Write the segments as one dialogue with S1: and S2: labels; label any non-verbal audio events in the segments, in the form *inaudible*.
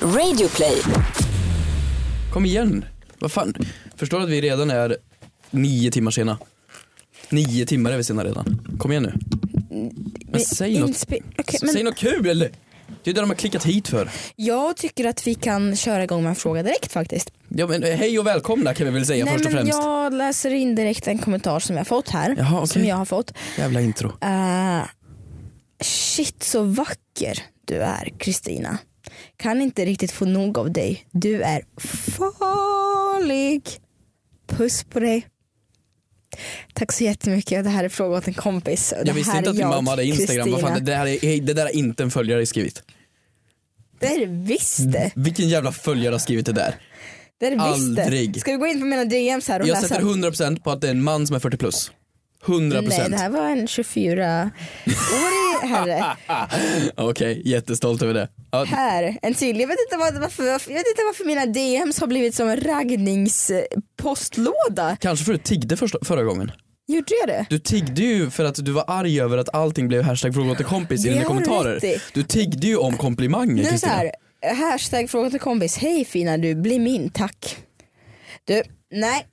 S1: Radioplay.
S2: Kom igen. Vad fan. Förstår du att vi redan är nio timmar sena? Nio timmar är vi sena redan. Kom igen nu. Men säg något.
S3: Inspe- Okej, men
S2: Säg något kul! Det är det de har klickat hit för.
S3: Jag tycker att vi kan köra igång med en fråga direkt faktiskt.
S2: Ja, men, eh, hej och välkomna kan vi väl säga först och
S3: men
S2: främst.
S3: jag läser in direkt en kommentar som jag har fått här.
S2: Jaha, okej.
S3: Som jag har fått.
S2: Jävla intro.
S3: Eh, shit så vacker du är Kristina. Kan inte riktigt få nog av dig. Du är farlig. Puss på dig. Tack så jättemycket. Det här är fråga åt en kompis. Det
S2: Jag visste
S3: här
S2: inte
S3: är
S2: att din
S3: jag,
S2: mamma hade instagram. Vad fan, det, det,
S3: Kristina.
S2: här är, det där har inte en följare skrivit.
S3: Det är det visst det.
S2: Vilken jävla följare har skrivit det där?
S3: det, är det visst det.
S2: Aldrig.
S3: Ska vi gå in på mina DMs här och
S2: Jag
S3: läsa?
S2: sätter 100% på att det är en man som är 40 plus. 100%.
S3: Nej det här var en 24-årig
S2: *laughs*
S3: herre.
S2: Okej, jättestolt över det. Ja,
S3: Här, en tydlig. Jag vet, inte vad- varför, varför, jag vet inte varför mina DMs har blivit som en raggningspostlåda.
S2: kanske för att du tiggde första, förra gången.
S3: Gjorde jag det?
S2: Du tiggde ju för att du var arg över att allting blev hashtag fråga åt en kompis i
S3: Det
S2: dina
S3: har du
S2: kommentarer.
S3: rätt i.
S2: Du tiggde ju om komplimanger
S3: Nu är det så
S2: Kristina.
S3: här, hashtag fråga till kompis. Hej fina du, bli min tack. Du, nej.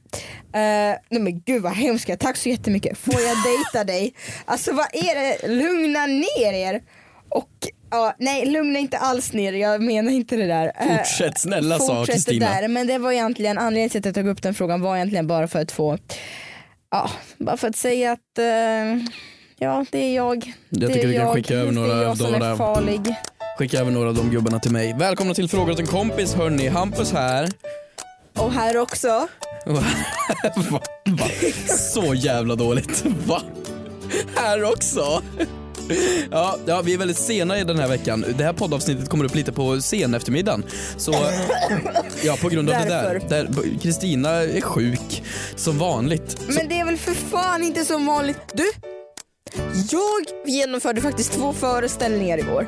S3: Eh, nej men gud vad hemska, tack så jättemycket. Får
S2: *laughs*
S3: jag dejta dig? Alltså vad är det, lugna ner er. Och ja, nej lugna inte alls ner er. jag menar inte det där. Eh,
S2: Fortsätt snälla sa
S3: Fortsätt det
S2: Kristina.
S3: där, men det var egentligen anledningen till att jag tog upp den frågan var egentligen bara för att få, ja, bara för att säga att eh, ja det är jag. det
S2: tycker
S3: är
S2: du kan skicka över några
S3: det är jag
S2: av
S3: som
S2: några-
S3: är farlig.
S2: Skicka över några av de gubbarna till mig. Välkomna till fråga åt en kompis hörni, Hampus här.
S3: Och här också.
S2: Va? Va? Så jävla dåligt. Va? Här också? Ja, ja, vi är väldigt sena i den här veckan. Det här poddavsnittet kommer upp lite på sen eftermiddagen. Så, ja, på grund av det
S3: Därför.
S2: där. där. Kristina är sjuk, som vanligt.
S3: Men det är väl för fan inte som vanligt. Du, jag genomförde faktiskt två föreställningar igår.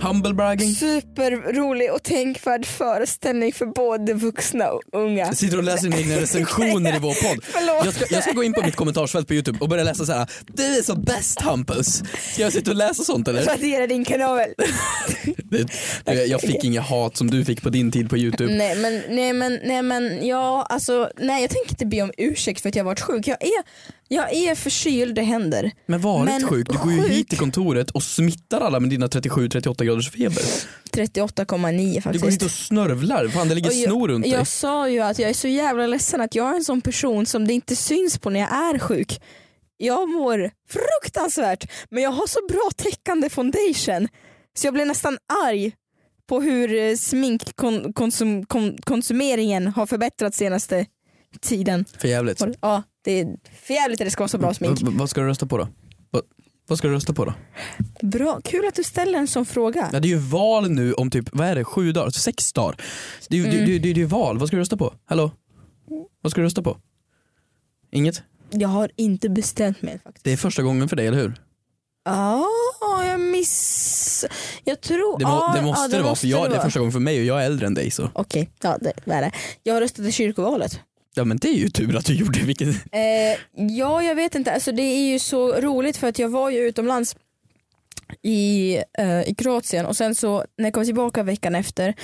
S2: Humble bragging.
S3: Superrolig och tänkvärd föreställning för både vuxna och unga.
S2: Jag sitter och läser dina egna recensioner i vår
S3: *laughs*
S2: podd.
S3: Förlåt.
S2: Jag ska, jag ska gå in på mitt kommentarsfält på youtube och börja läsa så här. Du är så bäst Hampus. Ska jag sitta och läsa sånt eller?
S3: Radera din kanal.
S2: Det- Jag jag fick inga hat som du fick på din tid på youtube.
S3: nej men, nej men, nej men, ja alltså, nej jag tänker inte be om ursäkt för att jag varit sjuk. Jag är, jag är förkyld, det händer.
S2: Men varit
S3: Men
S2: sjuk, du går ju
S3: sjuk.
S2: hit till kontoret och smittar alla med dina 37-38 graders feber.
S3: 38,9
S2: Du
S3: faktiskt.
S2: går hit och snörvlar, fan det ligger
S3: Och jag-
S2: snor runt dig.
S3: Jag sa ju att jag är så jävla ledsen att jag är en sån person som det inte syns på när jag är sjuk. Jag mår fruktansvärt men jag har så bra täckande foundation så jag blir nästan arg på hur sminkkonsumeringen konsum, kon- konsumeringen har förbättrats senaste tiden.
S2: För jävligt.
S3: Har- Ja, det är för jävligt att det ska vara så bra smink.
S2: V- v- Vad ska du rösta på då? Va- Vad ska du rösta på då?
S3: Bra, kul att du ställer en sån fråga.
S2: Ja, det är ju val nu om typ, vad är det, sju dagar? Sex dagar? Det är ju det, är- det, är- det är val, vad ska du rösta på? Hallå? Vad ska du rösta på? Inget?
S3: Jag har inte bestämt mig faktiskt.
S2: Det är första gången för dig, eller hur?
S3: Ja, jag miss... Jag tror...
S2: Det, må,
S3: ja,
S2: det måste
S3: ja,
S2: det vara,
S3: måste
S2: för jag, det är första gången för mig och jag är äldre än dig så.
S3: Okej, ja det det är det. Jag röstade i kyrkovalet.
S2: Ja men det är ju tur att du gjorde vilken...
S3: Eh, ja, jag vet inte. Alltså, det är ju så roligt för att jag var ju utomlands i, eh, i Kroatien och sen så när jag kom tillbaka veckan efter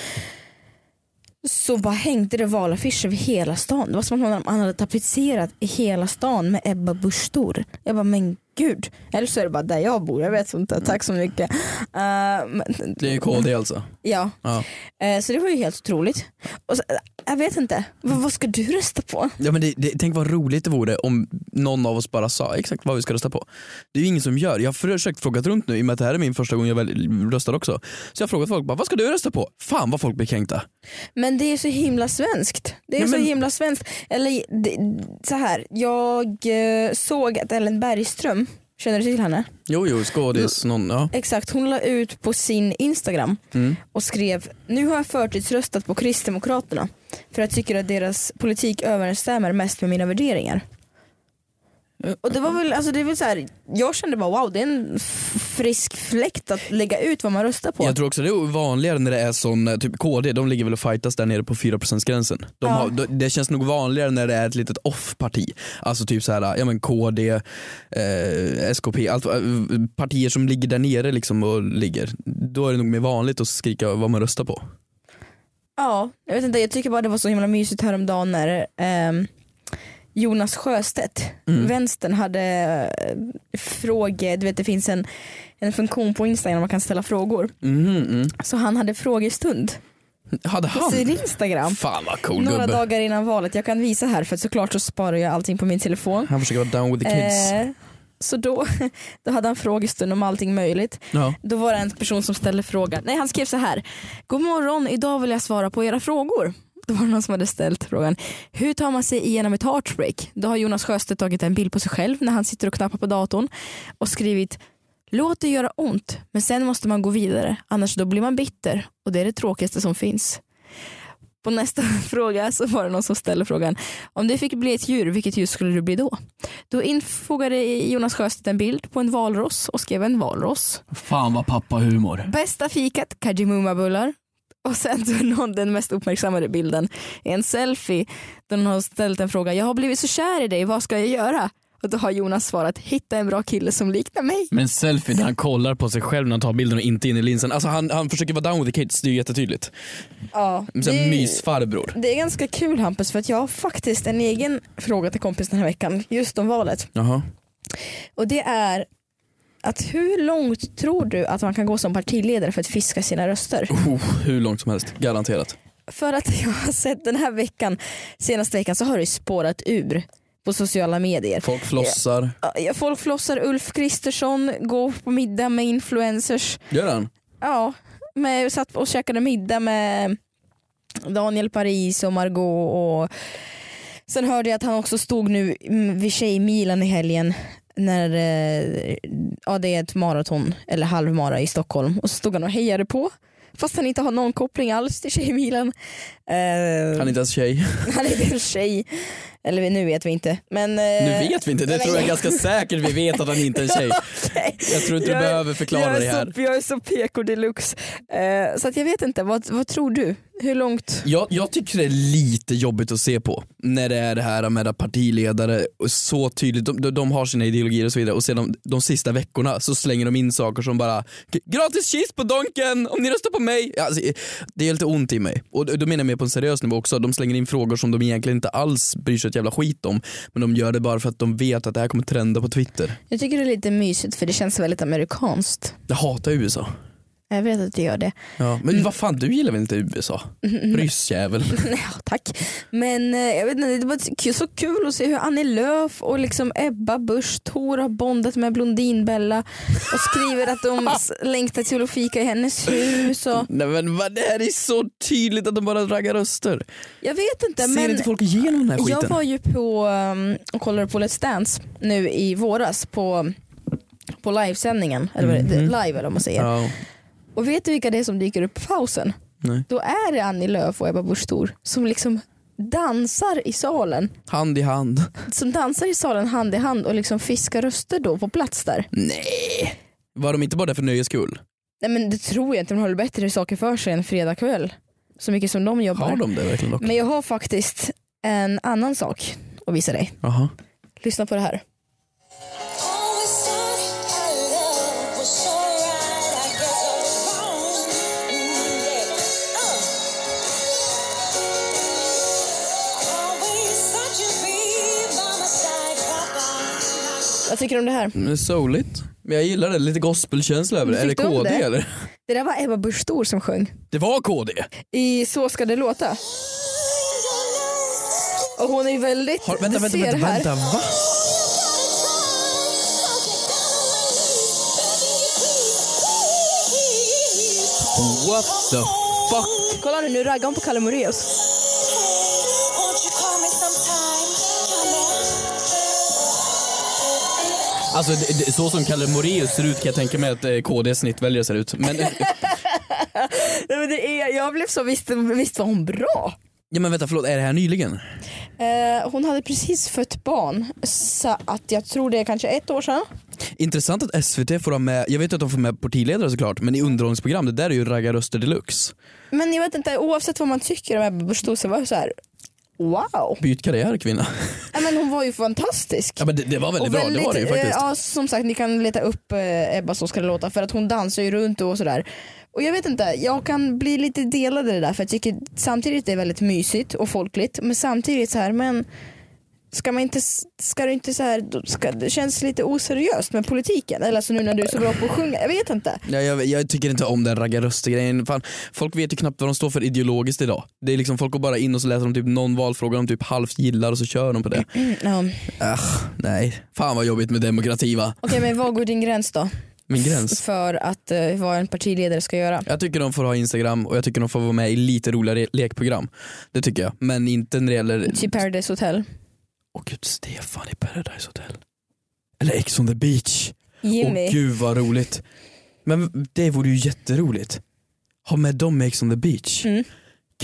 S3: så bara hängde det valaffischer över hela stan. Det var som att man hade tapetserat i hela stan med Ebba Busch-stor. Jag bara, men gud. Eller så är det bara där jag bor, jag vet inte. Tack så mycket. Eh, men,
S2: Det är KD alltså.
S3: ja.
S2: Ja.
S3: Eh, så det var ju helt otroligt. Och så, eh, jag vet inte, vad, vad ska du rösta på?
S2: Ja, men det, det, tänk vad roligt det vore om någon av oss bara sa exakt vad vi ska rösta på. Det är ju ingen som gör. Jag har försökt fråga runt nu i och med att det här är min första gång jag väl, röstar också. Så jag har frågat folk bara, vad ska du rösta på? Fan vad folk blir kränkta.
S3: Men det är så himla svenskt. Det är
S2: Ja,
S3: så
S2: men-
S3: himla svenskt. Eller det, så här, jag eh, såg att Ellen Bergström, känner du till henne?
S2: Jo jo, skådis, någon, ja.
S3: Exakt, hon la ut på sin Instagram
S2: Mm.
S3: och skrev Nu har jag förtidsröstat på Kristdemokraterna för jag tycker att deras politik överensstämmer mest med mina värderingar. Och det var väl, alltså det är väl så här, jag kände bara wow det är en f- frisk fläkt att lägga ut vad man röstar på.
S2: Jag tror också det är vanligare när det är sån, eh, typ KD, de ligger väl och fightas där nere på 4%-gränsen. De
S3: Ja.
S2: har, de- det känns nog vanligare när det är ett litet off-parti. Alltså typ så här, ja men KD, eh, SKP, allt, eh, partier som ligger där nere liksom och ligger. Då är det nog mer vanligt att skrika vad man röstar på.
S3: Ja, jag vet inte, jag tycker bara det var så himla mysigt häromdagen när ehm, Jonas Sjöstedt,
S2: Mm.
S3: vänstern, hade eh, fråge, du vet det finns en, en funktion på Instagram där man kan ställa frågor.
S2: Mhm, mm.
S3: Så han hade frågestund
S2: Hade
S3: på
S2: han?
S3: sin Instagram.
S2: Fan vad cool
S3: Några
S2: gubbe.
S3: dagar innan valet, jag kan visa här för att såklart så sparar jag allting på min telefon.
S2: Han försöker vara down with the kids.
S3: Eh, så då, *laughs* då hade han frågestund om allting möjligt.
S2: Ja.
S3: Då var det en person som ställde frågan. Nej han skrev så här. God morgon, idag vill jag svara på era frågor. Då var det någon som hade ställt frågan. Hur tar man sig igenom ett heartbreak? Då har Jonas Sjöstedt tagit en bild på sig själv när han sitter och knappar på datorn och skrivit Låt det göra ont, men sen måste man gå vidare. Annars då blir man bitter och det är det tråkigaste som finns. På nästa *laughs* fråga så var det någon som ställde frågan. Om du fick bli ett djur, vilket djur skulle du bli då? Då infogade Jonas Sjöstedt en bild på en valross och skrev en valross.
S2: Fan vad pappa humor.
S3: Bästa fikat, kajimumabullar. Och sen så någon, den mest uppmärksammade bilden är en selfie där någon har ställt en fråga. Jag har blivit så kär i dig, vad ska jag göra? Och då har Jonas svarat, hitta en bra kille som liknar mig.
S2: Men selfie där han kollar på sig själv när han tar bilden och inte in i linsen. Alltså han, han försöker vara down with the kids, det är ju jättetydligt.
S3: Ja,
S2: Men Sen mysfarbror.
S3: det är ganska kul Hampus för att jag har faktiskt en egen fråga till kompis den här veckan just om valet.
S2: Jaha.
S3: Och det är att hur långt tror du att man kan gå som partiledare för att fiska sina röster?
S2: Oh, hur långt som helst, garanterat.
S3: För att jag har sett den här veckan, senaste veckan så har det spårat ur på sociala medier.
S2: Folk flossar.
S3: Ja, Folk flossar Ulf Kristersson, går på middag med influencers.
S2: Gör han?
S3: Ja, med, satt och käkade middag med Daniel Paris och Margot och sen hörde jag att han också stod nu mm, vid Tjejmilen i helgen när eh, ja, det är ett maraton eller halvmara i Stockholm och så stod han och hejade på fast han inte har någon koppling alls till Tjejmilen. Eh,
S2: Han är inte ens tjej.
S3: han är inte en tjej. Eller nu vet vi inte. Men, eh,
S2: Nu vet vi inte, det
S3: nej,
S2: tror jag
S3: men-
S2: ganska säkert vi vet att han inte är en tjej.
S3: *laughs* Okej.
S2: Jag tror inte du
S3: Jag är-
S2: behöver förklara
S3: jag är
S2: det här.
S3: Så, jag är så PK deluxe. Eh, så att jag vet inte, vad, vad tror du? Hur långt?
S2: Jag, jag tycker det är lite jobbigt att se på när det är det här med att partiledare och så tydligt, de, de- de har sina ideologier och så vidare och sedan de, de sista veckorna så slänger de in saker som bara "G- gratis cheese på donken om ni röstar på mig. Ja, Alltså, det är lite ont i mig och då menar jag mer på en seriös nivå också. De slänger in frågor som de egentligen inte alls bryr sig ett jävla skit om men de gör det bara för att de vet att det här kommer trenda på Twitter.
S3: Jag tycker det är lite mysigt för det känns väldigt amerikanskt.
S2: Jag hatar USA.
S3: Jag vet att du gör det.
S2: Ja, men vad fan du gillar väl inte USA? Ryssjävel.
S3: *laughs* ja, tack. Men eh, jag vet inte, det var k- så kul att se hur Annie Lööf och liksom Ebba Busch Thor har bondat med Blondinbella och skriver
S2: *laughs*
S3: att de s- längtar till att fika i hennes hus. Och,
S2: Nej men vad, det här är så tydligt att de bara raggar röster.
S3: jag vet inte.
S2: Ser
S3: men...
S2: inte folk igenom den här
S3: Jag
S2: skiten?
S3: var ju på um, och kollade på Let's Dance nu i våras på, på livesändningen, eller vad det-
S2: Mhm.
S3: live eller vad man säger.
S2: Ja,
S3: Och vet du vilka det är som dyker upp på pausen?
S2: nej.
S3: Då är det Annie Lööf och Ebba Busch Thor som liksom dansar i salen,
S2: Hand i hand.
S3: som dansar i salen hand i hand och liksom fiskar röster då på plats där.
S2: Nej. Var de inte bara där för nöjes skull?
S3: Nej men det tror jag inte, de håller bättre saker för sig en fredagkväll. Så mycket som de jobbar.
S2: Har de det verkligen dock?
S3: Men jag har faktiskt en annan sak att visa dig.
S2: Jaha.
S3: Lyssna på det här.
S1: Always thought our love was so right. I guess I was wrong. Mm, Yeah. Uh. Always thought you'd be by my side, Papa.
S3: Vad tycker du om det här?
S2: Men Souligt. Men jag gillar det, lite gospelkänsla över det. Är
S3: Fick
S2: det
S3: du om
S2: KD
S3: det?
S2: eller?
S3: Det där var Ebba Busch Thor som sjöng.
S2: Det var KD!
S3: I Så ska det låta.
S1: Your love
S3: Och hon är ju väldigt...
S2: Har, vänta,
S3: du
S2: vänta,
S3: ser
S2: vänta,
S3: här.
S2: vänta, va? What the fuck?
S3: Kolla nu, nu raggar hon på Kalle Moraeus.
S1: Won't you call me sometime? Come
S2: Alltså det, det, så som Kalle Moraeus ser ut kan jag tänka mig att eh, KDs snittväljare
S3: *laughs*
S2: ser ut. Men eh,
S3: Nej, men det är, jag blev så, visst, visst var hon bra?
S2: Ja men vänta förlåt, är det här nyligen?
S3: Eh, hon hade precis fött barn, så att jag tror det är kanske ett år sedan.
S2: Intressant att SVT får ha med, jag vet att de får med partiledare såklart, men i underhållningsprogram, det där är ju raggarröster deluxe.
S3: Men jag vet inte, oavsett vad man tycker om Ebba Busch Thor så var jag så här. wow.
S2: Byt karriär kvinna. *laughs*
S3: Ja, men hon var ju fantastisk.
S2: Ja men det, det var väldigt
S3: Och
S2: bra, det var det ju
S3: eh,
S2: faktiskt.
S3: Ja, som sagt ni kan leta upp eh, Ebba så ska det låta för att hon dansar ju runt och sådär. Och jag vet inte, jag kan bli lite delad i det där för jag tycker samtidigt det är väldigt mysigt och folkligt men samtidigt så här men ska man inte, ska det inte så här, då ska, det känns lite oseriöst med politiken eller alltså nu när du är så bra på att sjunga, jag vet inte.
S2: Ja, jag, jag tycker inte om den raggarröster-grejen. Fan, Folk vet ju knappt vad de står för ideologiskt idag. Det är liksom, folk går bara in och så läser de typ någon valfråga de typ halvt gillar och så kör de på det.
S3: Ja.
S2: Ach, nej. Fan vad jobbigt med demokrati va?
S3: Okej men vad går din gräns då?
S2: Min gräns.
S3: För att eh, vad en partiledare ska göra?
S2: Jag tycker de får ha instagram och jag tycker de får vara med i lite roliga re- lekprogram. Det tycker jag. Men inte när det gäller...
S3: Typ Paradise Hotel.
S2: Åh gud, Stefan i Paradise Hotel. Eller Ex on the beach. Åh
S3: Jimmy.
S2: gud vad roligt. Men det vore ju jätteroligt. Ha med dem i Ex on the beach.
S3: Mm.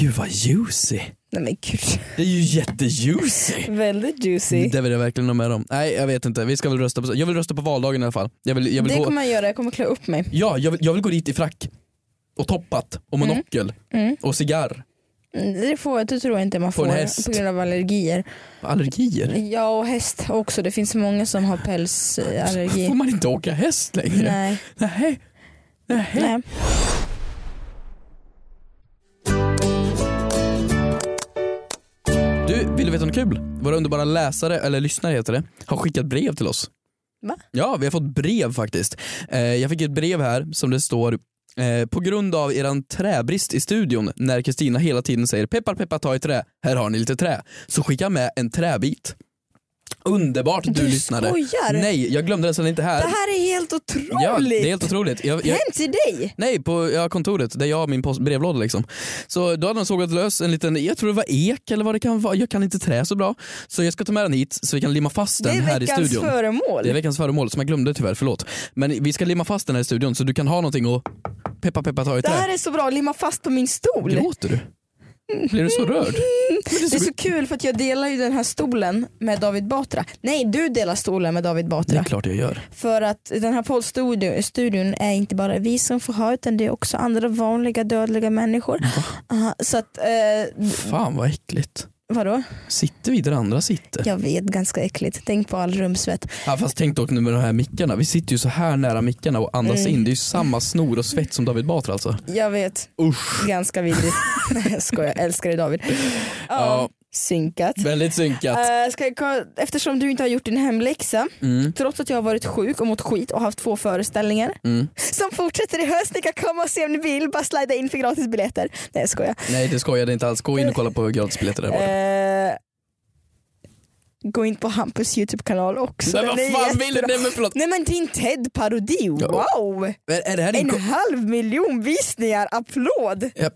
S2: Gud vad juicy.
S3: Nej men gud, *laughs*
S2: Det är ju jättejuicy.
S3: väldigt juicy.
S2: Det vill jag verkligen ha med dem. Nej jag vet inte, vi ska väl rösta på, jag vill rösta på valdagen i alla fall. Jag vill, jag vill
S3: Det
S2: gå,
S3: kommer jag göra, jag kommer klä upp mig.
S2: ja, jag vill, jag vill gå dit i frack. Och toppat, och
S3: Mm.
S2: monokel,
S3: Mm.
S2: och cigarr.
S3: Mm, Det, får, det tror jag inte man
S2: På
S3: får
S2: en häst.
S3: på grund av allergier.
S2: Allergier?
S3: Ja och häst också, det finns många som har
S2: Får
S3: pälsallergi.
S2: man inte åka häst längre?
S3: Nej.
S2: Nej. Nej.
S3: Nej.
S2: Du, vill du veta något kul? Våra underbara läsare, eller lyssnare heter det, har skickat brev till oss.
S3: Va?
S2: Ja, vi har fått brev faktiskt. Eh, jag fick ett brev här som det står eh, på grund av eran träbrist i studion när Kristina hela tiden säger peppar peppar ta i trä, här har ni lite trä. Så skicka jag med en träbit. Underbart du,
S3: Du
S2: lyssnade.
S3: skojar.
S2: Nej, jag glömde den så den är inte här.
S3: Det här är helt
S2: ja,
S3: otroligt!
S2: det är helt otroligt. Jag, jag,
S3: Hem till dig!
S2: Nej, på ja, kontoret där jag har min post, brevlåda. Liksom. Så då hade de sågat lös en liten, jag tror det var ek eller vad det kan vara, jag kan inte trä så bra. Så jag ska ta med den hit så vi kan limma fast
S3: Det
S2: den
S3: är
S2: här i
S3: veckans
S2: studion.
S3: föremål.
S2: Det är veckans föremål som jag glömde tyvärr, förlåt. Men vi ska limma fast den här i studion så du kan ha någonting och peppa peppa ta i
S3: Det här
S2: trä.
S3: är så bra, limma fast på min stol.
S2: Gråter du? Blir du så rörd?
S3: Mm. Det är så kul för att jag delar ju den här stolen med David Batra. Nej du delar stolen med David
S2: Det är
S3: Batra.
S2: klart jag gör.
S3: För att den här poddstudion studion är inte bara vi som får ha utan det är också andra vanliga dödliga människor. Aha, så att, eh,
S2: Fan vad äckligt.
S3: vadå?
S2: Sitter vi där andra sitter?
S3: Jag vet, ganska äckligt. Tänk på all rumsvett.
S2: Ja, fast tänk dock nu med de här mickarna, vi sitter ju så här nära mickarna och andas
S3: Mm.
S2: in. Det är ju samma snor och svett som David Batra alltså.
S3: Jag vet,
S2: Usch.
S3: ganska vidrigt. *laughs* Nej jag skojar, jag älskar dig David. Ja,
S2: Ja.
S3: Synkat.
S2: Väldigt synkat.
S3: Eh, ska jag, kolla- eftersom du inte har gjort din hemläxa,
S2: Mm,
S3: trots att jag har varit sjuk och mått skit och haft två föreställningar
S2: mm.
S3: som fortsätter i höst. Ni kan komma och se om ni vill, bara slida in för gratis biljetter. Nej jag skojar.
S2: Nej det skojade inte alls. Gå in och kolla på gratisbiljetter där bara.
S3: Eh, gå in på Hampus YouTube-kanal också.
S2: Men
S3: Den
S2: vad
S3: är
S2: fan vill du?
S3: jättebra.
S2: Nej men förlåt.
S3: Nej men din TED-parodi,
S2: Ja.
S3: wow!
S2: Är, är, det här din,
S3: En halv miljon visningar, applåd!
S2: ja,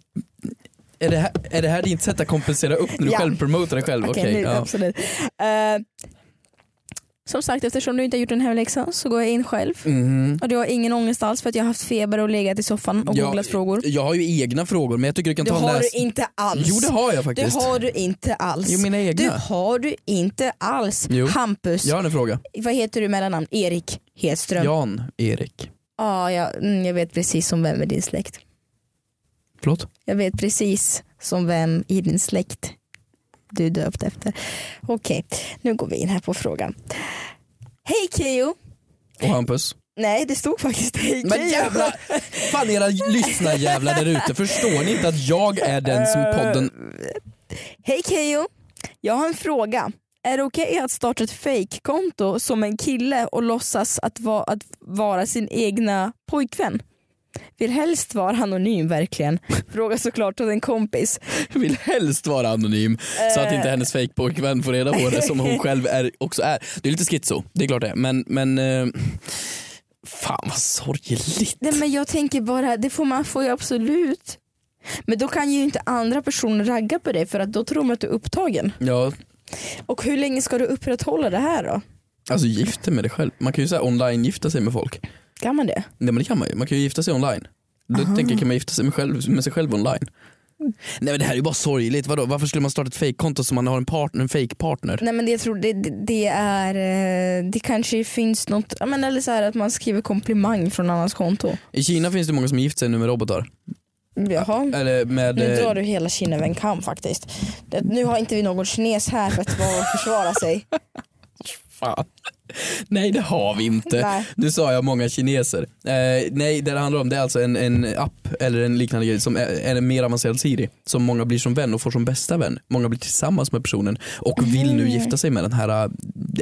S2: är, det här, är det här din sätt att kompensera upp när du
S3: Ja.
S2: själv promotar dig själv? Okej.
S3: Okej, nu,
S2: ja.
S3: absolut. Eh, som sagt, eftersom du inte har gjort en hemläxa så går jag in själv.
S2: Mhm.
S3: Och du har ingen ångest alls för att jag har haft feber och legat i soffan och
S2: Ja,
S3: googlat frågor.
S2: Jag har ju egna frågor men jag tycker du kan
S3: Det
S2: ta en
S3: har du
S2: läs...
S3: inte alls.
S2: Jo det har jag
S3: det
S2: faktiskt.
S3: har du inte alls.
S2: Jo mina
S3: det
S2: egna.
S3: har du inte alls.
S2: Jo.
S3: Hampus,
S2: Jag har en fråga.
S3: vad heter du i mellannamn? Erik Hedström.
S2: Jan Erik.
S3: Ja, jag, mm, jag vet precis som vem i din släkt.
S2: Förlåt?
S3: Jag vet precis som vem i din släkt du är döpt efter. Okej, nu går vi in här på frågan. Hej Keyyo!
S2: Och Hampus.
S3: Nej, det stod faktiskt hej
S2: Men
S3: Keyyo.
S2: jävla, fan era lyssnarjävlar där ute, förstår ni inte att jag är den som podden...
S3: Hej Keyyo! Jag har en fråga. Är det okej att starta ett fejkkonto som en kille och låtsas att, va- att vara sin egna pojkvän? Vill helst vara anonym verkligen. Fråga såklart åt en kompis.
S2: vill helst vara anonym så att inte hennes fejkpojkvän får reda på det som hon själv är, också är. Det är lite schizo, det är klart det är. Men, men eh, fan vad sorgligt.
S3: Nej men jag tänker bara, det får man får ju absolut. Men då kan ju inte andra personer ragga på dig för att då tror de att du är upptagen.
S2: Ja,
S3: Och hur länge ska du upprätthålla det här då?
S2: alltså gifta med dig själv. Man kan ju säga online gifta sig med folk.
S3: Kan man det?
S2: Nej men det kan man ju, man kan ju gifta sig online. Då tänker jag, kan man gifta sig med, själv, med sig själv online? Nej men det här är ju bara sorgligt. Vadå? Varför skulle man starta ett fejkkonto som man har en, partner, en fake-partner?
S3: Nej men det jag tror det, det, det är, eh, det kanske finns något, ja, men eller så här att man skriver komplimang från annans konto.
S2: I Kina finns det många som gift sig nu med robotar.
S3: Jaha.
S2: Eller med...
S3: Nu
S2: eh,
S3: drar du hela Kina över en kam faktiskt. Det, nu har inte vi någon kines här för att vara och försvara sig.
S2: Fan. Nej det har vi inte.
S3: Nej.
S2: Nu sa jag många kineser. Eh, nej det det handlar om det är alltså en, en app eller en liknande grej som är, är en mer avancerad Siri. Som många blir som vän och får som bästa vän. Många blir tillsammans med personen och vill nu gifta sig med den här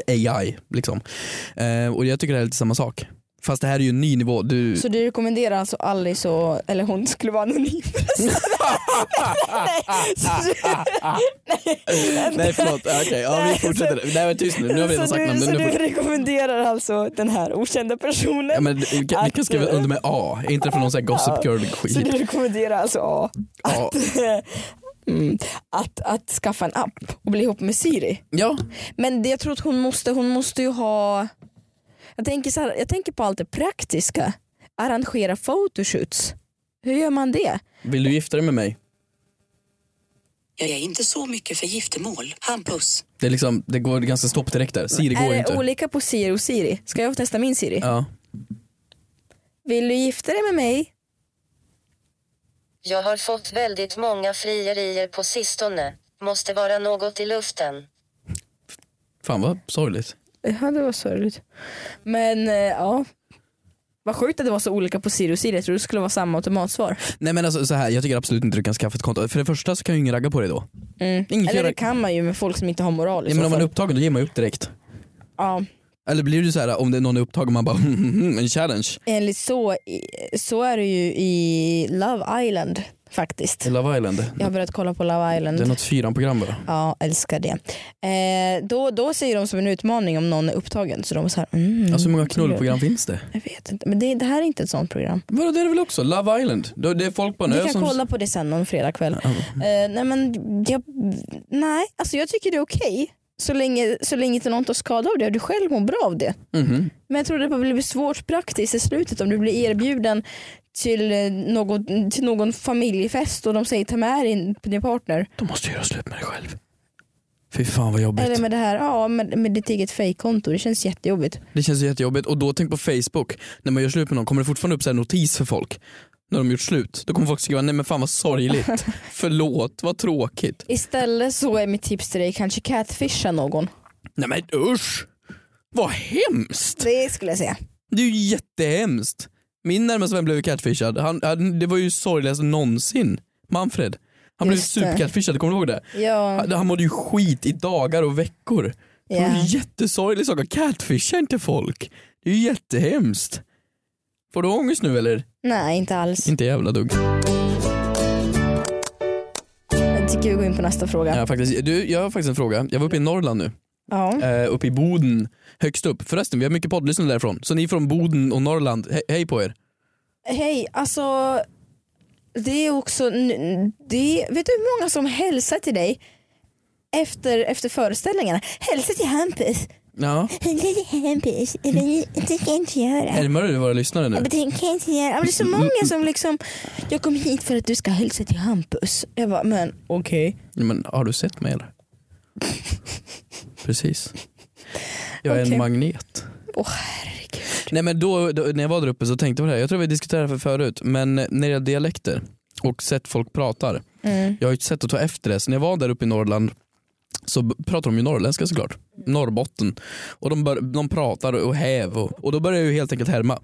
S2: eh, AI. Liksom. Eh, och jag tycker det här är lite samma sak. Fast det här är ju en ny nivå. Du...
S3: Så du rekommenderar alltså Alice och, eller hon skulle vara anonym. *laughs* Nej, så du-
S2: Nej förlåt, okej ja, vi fortsätter. Nej men tyst nu, nu har vi redan
S3: så
S2: sagt
S3: du,
S2: namnet.
S3: så
S2: Nu
S3: du
S2: får-
S3: rekommenderar alltså den här okända personen?
S2: Ja, men, vi kan, vi kan skriva under med A, inte från någon sån här gossip girl skit.
S3: Så du rekommenderar alltså ja,
S2: Ja.
S3: mm, att, att skaffa en app och bli ihop med Siri? *laughs*
S2: ja,
S3: Men det jag tror att hon måste, hon måste ju ha Jag tänker, så här, jag tänker på allt det praktiska. Arrangera photoshoots. Hur gör man det?
S2: vill du gifta dig med mig?
S4: Jag är inte så mycket för giftermål, Hampus.
S2: Det, är liksom, det går ganska stopp direkt där. Siri går
S3: är
S2: ju
S3: det
S2: inte.
S3: olika på Siri och Siri? Ska jag testa min Siri?
S2: Ja.
S3: Vill du gifta dig med mig?
S5: Jag har fått väldigt många frierier på sistone. Måste vara något i luften.
S2: Fan vad sorgligt.
S3: Ja det var sorgligt. Men eh, ja. Vad sjukt att det var så olika på Siri och Siri. Jag trodde det skulle vara samma automatsvar.
S2: Nej men alltså så här, jag tycker absolut inte du kan skaffa ett konto. För det första så kan ju ingen ragga på dig då. Ingen kan
S3: Mm. Eller det
S2: ragga-
S3: kan man ju med folk som inte har moral i
S2: Nej,
S3: så
S2: men om man
S3: fall.
S2: är upptagen då ger man ju upp direkt.
S3: ja.
S2: Eller blir det så här om det är någon är upptagen man bara *laughs* "Hmm, en challenge.
S3: Enligt så, i- så är det ju i Love Island faktiskt.
S2: I Love Island.
S3: Jag har börjat kolla på Love
S2: Det är
S3: Island.
S2: något fyran program bara.
S3: Ja, älskar det. Eh, då, då ser de som en utmaning om någon är upptagen. Så de är så här, mm,
S2: Alltså hur många knullprogram finns det?
S3: jag vet inte. Men det, det här är inte ett sånt program.
S2: Vadå det är det väl också? Love Island? Då- Det är folk på en
S3: Vi
S2: ö
S3: kan
S2: som...
S3: kolla på det sen någon fredagkväll. Eh, nej men jag, nej, alltså jag tycker det är okej. Så länge, så länge inte någon tar skada av det och du själv mår bra av det.
S2: Mhm.
S3: Men jag tror det blir svårt praktiskt i slutet om du blir erbjuden till, eh, något, till någon familjefest och de säger ta med din, din partner.
S2: Då måste jag göra slut med dig själv. Fy fan vad jobbigt.
S3: Eller med det här, ja med, med ditt eget fejkkonto. Det känns jättejobbigt.
S2: Det känns ju jättejobbigt och då tänk på Facebook, när man gör slut med någon kommer det fortfarande upp så här notis för folk när de gjort slut. Då kommer folk skriva nej men fan vad
S3: *laughs*
S2: sorgligt, förlåt, vad tråkigt.
S3: Istället så är mitt tips till dig kanske catfisha någon.
S2: Nej men usch, vad hemskt.
S3: Det skulle jag säga.
S2: Det är ju jättehemskt. Min närmaste vän blev ju catfishad, han, han, det var ju sorgligast någonsin. Manfred, han blev
S3: Just det.
S2: supercatfishad, kommer du ihåg det?
S3: Ja,
S2: Han, han mådde ju skit i dagar och veckor. Det var
S3: Ja.
S2: en jättesorglig sak, att catfisha inte folk. Det är ju jättehemskt. Får du ångest nu eller?
S3: nej inte alls.
S2: Inte jävla dugg.
S3: Jag tycker vi går in på nästa fråga. Ja.
S2: Ja, faktiskt. Du, jag har faktiskt en fråga. Jag var uppe i Norrland nu, eh, uppe i Boden, högst upp. Förresten, vi har mycket poddlyssnare därifrån. Så ni från Boden och Norrland, he hej på er.
S3: Hej, alltså det är också, n- det, vet du hur många som hälsar till dig efter, efter föreställningarna? Hälsa till Hampus.
S2: Ja.
S3: Hälsa till Hampus. Det tänker jag inte göra.
S2: Närmar du våra lyssnare nu?
S3: Det tänker jag inte göra. Ja, men Det är så många som liksom, jag kom hit för att du ska hälsa till Hampus. Jag bara, men okej.
S2: Ja, Men, har du sett mig eller? Precis. Jag är
S3: Okej.
S2: en magnet.
S3: Åh herregud.
S2: Nej men då, då, när jag var där uppe så tänkte jag på det här. Jag tror vi diskuterade det här förut, men när det gäller dialekter och sätt folk pratar. Jag har ju ett sätt att ta efter det. Så när jag var där uppe i Norrland så b- pratar de ju norrländska såklart. Norrbotten. Och de, bör, de pratar och häv och, och då börjar jag ju helt enkelt härma.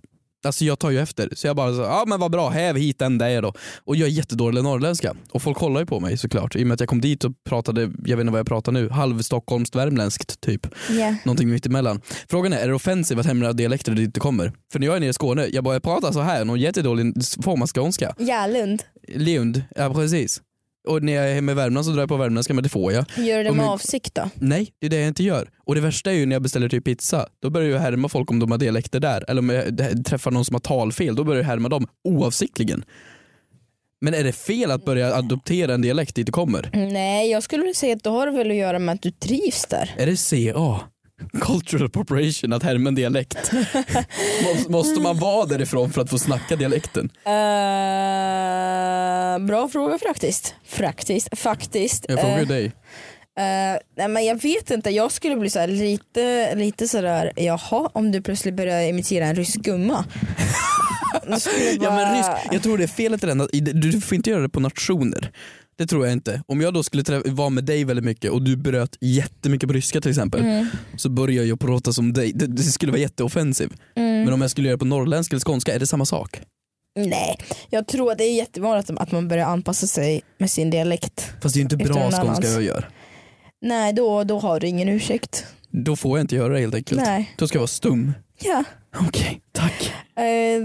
S2: Alltså jag tar ju efter. Så jag bara så, ja men vad bra, häv hit den där då. Och jag är jättedålig i norrländska. Och folk kollar ju på mig såklart. I och med att jag kom dit och pratade, jag vet inte vad jag pratar nu, halvstockholmskt värmländskt typ.
S3: Ja.
S2: Någonting mitt emellan. Frågan är, är det offensivt att hemliga dialekter dit det kommer? För när jag är nere i Skåne, jag bara jag pratar så här, någon jättedålig form av skånska.
S3: Järlund.
S2: Lund, ja precis. Och när jag är hemma i Värmland så drar jag på värmländska men det får jag.
S3: Gör du det
S2: Om
S3: med
S2: jag-
S3: avsikt då?
S2: Nej, det är det jag inte gör. Och det värsta är ju när jag beställer typ pizza. Då börjar jag härma folk om de har dialekter där. Eller om jag eh, träffar någon som har talfel, då börjar jag härma dem oavsiktligen. Men är det fel att börja adoptera en dialekt dit det kommer?
S3: Nej, jag skulle vilja säga att det har väl att göra med att du trivs där.
S2: Är det CA? cultural appropriation att härma en dialekt. Må- Måste man vara därifrån för att få snacka dialekten?
S3: Eh, bra fråga faktiskt. Faktiskt. faktiskt.
S2: Jag frågar ju
S3: Eh,
S2: dig.
S3: eh, nej men jag vet inte, jag skulle bli så här lite, lite sådär, jaha om du plötsligt börjar imitera en rysk gumma.
S2: *laughs*
S3: Då skulle jag
S2: Ja, men
S3: bara-
S2: rysk, jag tror det är felet i den, att- i- du får inte göra det på nationer. Det tror jag inte. Om jag då skulle trä- vara med dig väldigt mycket och du bröt jättemycket på ryska till exempel
S3: Mm.
S2: så börjar jag prata som dig. Det, det skulle vara jätteoffensiv.
S3: Mm.
S2: Men om jag skulle göra det på norrländska eller skånska, är det samma sak?
S3: Nej, jag tror att det är jättevanligt att man börjar anpassa sig med sin dialekt.
S2: Fast det är ju inte
S3: Efter
S2: bra
S3: någon
S2: skånska
S3: annans.
S2: jag gör.
S3: Nej, då, då har du ingen ursäkt.
S2: Då får jag inte göra det helt enkelt.
S3: Nej.
S2: Då ska jag vara stum.
S3: Ja.
S2: Okej, tack.
S3: Eh,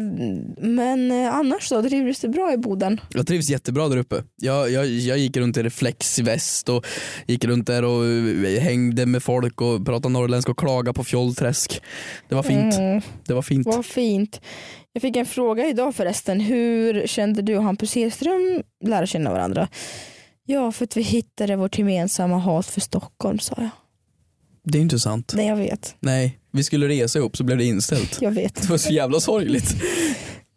S3: men eh, annars då, trivdes du bra i Boden?
S2: Jag trivs jättebra där uppe. Jag, jag, jag gick runt i reflexväst och gick runt där och eh, hängde med folk och pratade norrländska och klagade på fjollträsk. Det var fint.
S3: Mm,
S2: Det var fint.
S3: vad fint. Jag fick en fråga idag förresten. Hur kände du och Hampus Hedström lära känna varandra? Ja, för att vi hittade vårt gemensamma hat för Stockholm sa jag.
S2: Det är intressant.
S3: Nej, jag vet.
S2: Nej, vi skulle resa ihop så blev det inställt.
S3: Jag vet.
S2: Det var så jävla sorgligt.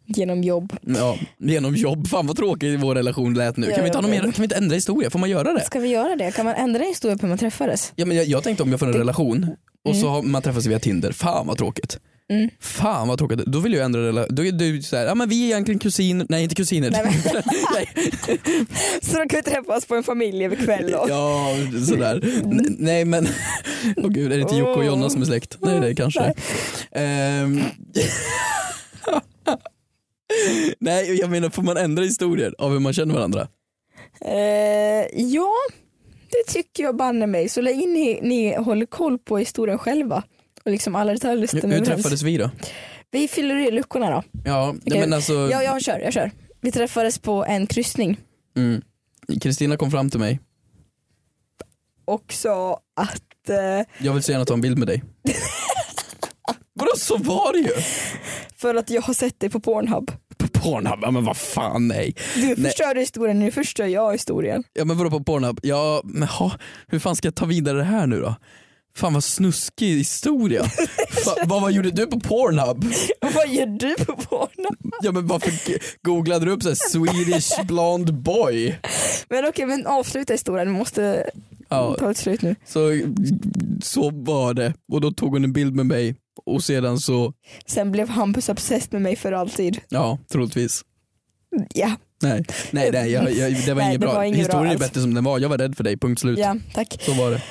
S3: Genom jobb.
S2: Ja, genom jobb. Fan vad tråkig vår relation lät nu.
S3: Ja,
S2: Kan vi, inte
S3: jag
S2: ha någon mer,
S3: vet.
S2: kan vi inte ändra historia? Får man göra det?
S3: Ska vi göra det? Kan man ändra historia på hur man träffades?
S2: Ja, men jag, jag tänkte om jag får en relation och så har man träffas via Tinder. Fan vad tråkigt.
S3: Mm.
S2: Fan vad tråkigt. Då vill jag ändra relationen. Då är du såhär, ja men vi är egentligen kusiner. Nej inte kusiner.
S3: Nej,
S2: *laughs* Nej.
S3: Så de kan vi träffas på en familjekväll då.
S2: Ja, sådär.
S3: Mm.
S2: N- nej men, *laughs* åh gud är det inte Jocke och Jonna som är släkt? Nej det är det kanske. Ehm. *laughs* nej jag menar får man ändra historier av hur man känner varandra?
S3: Eh, ja, det tycker jag banne mig. Så länge ni, ni håller koll på historien själva och liksom alla detaljer
S2: Hur,
S3: stämmer
S2: hur
S3: överens.
S2: träffades vi då?
S3: Vi fyller i luckorna då.
S2: Ja,
S3: Okej.
S2: men alltså,
S3: Ja, jag kör, jag kör. Vi träffades på en kryssning
S2: mm. Kristina kom fram till mig.
S3: och sa att eh,
S2: Jag vill så gärna ta en bild med
S3: *laughs*
S2: dig. Vadå så var det ju?
S3: för att jag har sett dig på Pornhub.
S2: På Pornhub, ja, men vad fan nej.
S3: Du förstörde historien, nu förstör jag historien. *laughs*
S2: Ja men vadå på Pornhub? Ja men ha, hur fan ska jag ta vidare det här nu då? Fan vad snuskig
S3: *laughs*
S2: historia. Fa, vad, vad gjorde du på Pornhub?
S3: Vad gör du på Pornhub?
S2: Ja men varför g- googlade du upp så här, Swedish blond boy?
S3: Men okej, men avsluta historien, vi måste
S2: Ja,
S3: ta ett slut nu.
S2: så, så var det och då tog hon en bild med mig och sedan så,
S3: Sen blev Hampus obsessed med mig för alltid.
S2: ja troligtvis.
S3: Ja,
S2: Nej, nej, nej jag, jag, det var
S3: Nej,
S2: inget
S3: det
S2: bra.
S3: var inget bra
S2: Historien är
S3: alls.
S2: bättre som den var, jag var rädd för dig, punkt slut.
S3: ja tack.
S2: Så var det.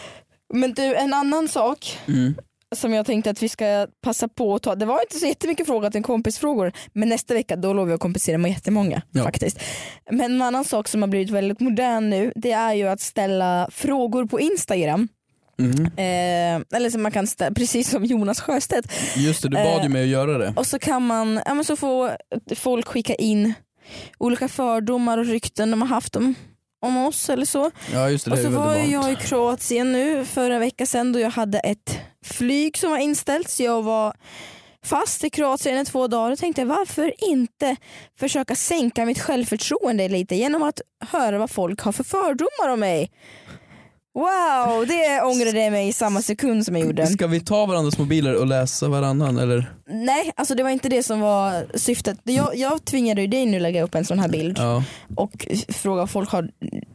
S3: Men du, en annan sak
S2: Mm.
S3: som jag tänkte att vi ska passa på att ta. Det var inte så jättemycket frågor till kompisfrågor men nästa vecka då lovar jag att kompensera med jättemånga
S2: Ja.
S3: faktiskt. Men en annan sak som har blivit väldigt modern nu det är ju att ställa frågor på Instagram.
S2: Mhm.
S3: Eh, eller som man kan ställa, precis som Jonas Sjöstedt.
S2: Just det, du bad
S3: Eh,
S2: ju mig att göra det.
S3: Och så kan man, ja men så får folk skicka in olika fördomar och rykten de har haft om, om oss eller så.
S2: Ja just det, det
S3: Och
S2: är
S3: så
S2: väldigt
S3: var ju
S2: vanligt.
S3: jag i Kroatien nu för en vecka sedan då jag hade ett flyg som var inställt så jag var fast i Kroatien i två dagar och tänkte varför inte försöka sänka mitt självförtroende lite genom att höra vad folk har för fördomar om mig. Wow, det ångrade jag mig i samma sekund som jag gjorde.
S2: Ska vi ta varandras mobiler och läsa varannan eller?
S3: Nej, alltså det var inte det som var syftet. Jag, jag tvingade ju dig nu lägga upp en sån här bild
S2: Ja.
S3: och fråga vad folk har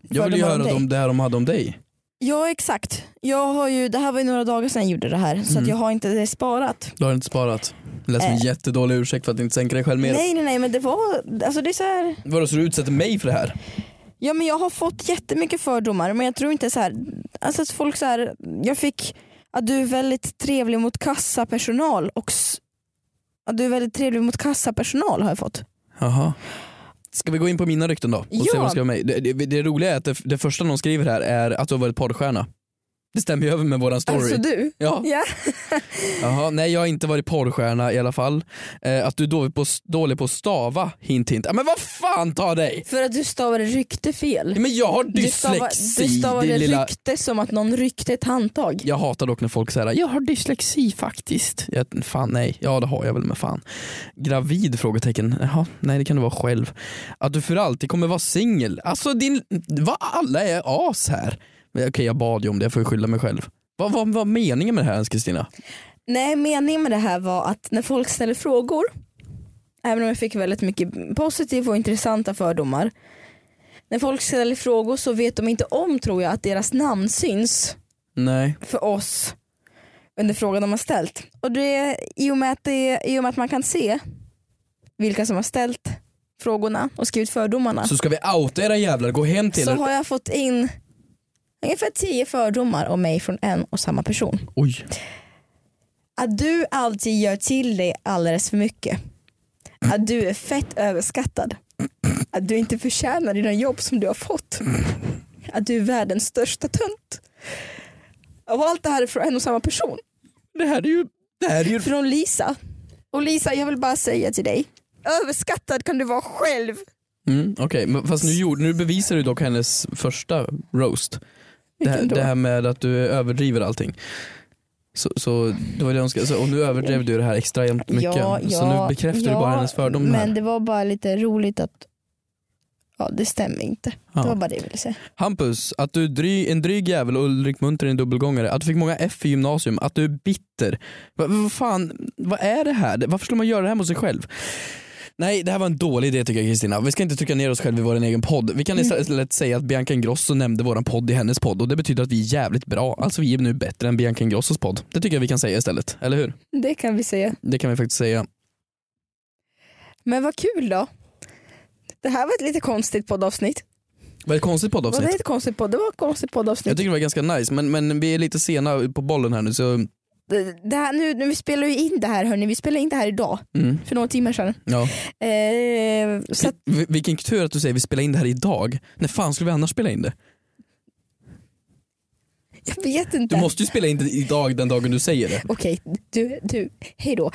S2: Jag vill ju
S3: fördomar om
S2: höra
S3: dig.
S2: om det här de hade om dig.
S3: Ja exakt. Jag har ju, det här var ju några dagar sedan jag gjorde det här så att
S2: Mm.
S3: jag har inte det sparat.
S2: Du har inte sparat. Det lät som en jättedålig ursäkt för att inte sänka dig själv mer.
S3: Eh. Nej nej nej men det var, alltså det är så här.
S2: Vadå så du utsätter mig för det här?
S3: Ja men jag har fått jättemycket fördomar men jag tror inte så här, alltså att folk så här, jag fick att du är väldigt trevlig mot kassapersonal och s- att du är väldigt trevlig mot kassapersonal har jag fått.
S2: Jaha. Ska vi gå in på mina rykten då? Och se
S3: Ja.
S2: vad de ska ha mig? Det, det, det roliga är att det, det första någon skriver här är att du har varit porrstjärna. Det stämmer ju över med våran story.
S3: Alltså du.
S2: Ja.
S3: Ja.
S2: Jaha, nej jag har inte varit porrstjärna i alla fall. Eh, att du är dålig på, dålig på att stava, hint hint. Ja, men vad fan ta dig!
S3: För att du stavade rykte fel.
S2: Ja, Men jag har
S3: Du, stava,
S2: dyslexi.
S3: du stavade
S2: din lilla...
S3: rykte som att någon ryckte ett handtag.
S2: Jag hatar dock när folk säger jag har dyslexi faktiskt. Jag, fan nej, ja det har jag väl men fan. Gravid? frågetecken. Jaha, nej det kan du vara själv. Att du för alltid kommer vara singel. Alltså din, vad alla är as här. Men Okej jag bad ju om det, jag får ju skylla mig själv. Vad var vad meningen med det här ens Kristina?
S3: Nej, meningen med det här var att när folk ställer frågor, även om jag fick väldigt mycket positiva och intressanta fördomar. När folk ställer frågor så vet de inte om tror jag att deras namn syns
S2: Nej.
S3: för oss under frågan de har ställt. Och det, i, och med att det, I och med att man kan se vilka som har ställt frågorna och skrivit fördomarna
S2: Så ska vi outa era jävlar, gå hem till
S3: så
S2: er.
S3: har jag fått in ungefär tio fördomar om mig från en och samma person.
S2: Oj.
S3: Att du alltid gör till dig alldeles för mycket. Att du är fett överskattad. Att du inte förtjänar dina jobb som du har fått. Att du är världens största tönt. Och allt det här är från en och samma person.
S2: Det här är ju... Det här är ju...
S3: Från Lisa. Och Lisa jag vill bara säga till dig. Överskattad kan du vara själv.
S2: Mm, Okej, men fast nu, gjorde, nu bevisar du dock hennes första roast. Det här,
S3: Vilken då?
S2: det här med att du överdriver allting. Så, så det var det hon ska, så, och nu överdrev du det här extra jämt mycket. så nu bekräftar du bara hennes fördom här.
S3: Men det var bara lite roligt att Ja det stämmer inte.
S2: Ja.
S3: Det var bara det jag ville säga.
S2: Hampus, att du är dry, en dryg jävel och Ulrik Munter är en dubbelgångare, att du fick många F i gymnasium, att du är bitter. Va- Vad fan, vad är det här? Varför skulle man göra det här mot sig själv? Nej, det här var en dålig idé tycker jag Kristina. Vi ska inte trycka ner oss själva i vår egen podd. Vi kan istället säga att Bianca Ingrosso nämnde våran podd i hennes podd och det betyder att vi är jävligt bra. Alltså vi är nu bättre än Bianca Ingrossos podd. Det tycker jag vi kan säga istället, eller hur?
S3: Det kan vi säga.
S2: Det kan vi faktiskt säga.
S3: Men vad kul då. Det här var ett lite konstigt poddavsnitt.
S2: Vad ett konstigt
S3: Var
S2: poddavsnitt.
S3: det ett konstigt podd? Det var ett konstigt
S2: Jag
S3: poddavsnitt.
S2: tycker det var ganska nice, men, men vi är lite sena på bollen här nu så,
S3: Det- Det här, nu, nu, vi spelar ju in det här hörni, vi spelar in det här idag.
S2: mm,
S3: För några timmar sedan.
S2: ja.
S3: Eh, så att,
S2: Vi- Vilken tur att du säger vi spelar in det här idag. När fan skulle vi annars spela in det?
S3: jag vet
S2: Du
S3: inte.
S2: måste ju spela in det idag den dagen du säger det.
S3: Okej, du, du, hejdå.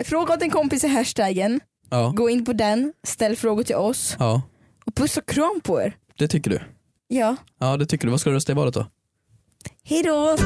S3: Eh, fråga åt en kompis i hashtaggen.
S2: Ja,
S3: Gå in på den, ställ frågor till oss
S2: ja
S3: och puss och kram på er.
S2: det tycker du.
S3: Ja,
S2: Ja, det tycker du. Vad ska du rösta i valet då?
S3: hejdå!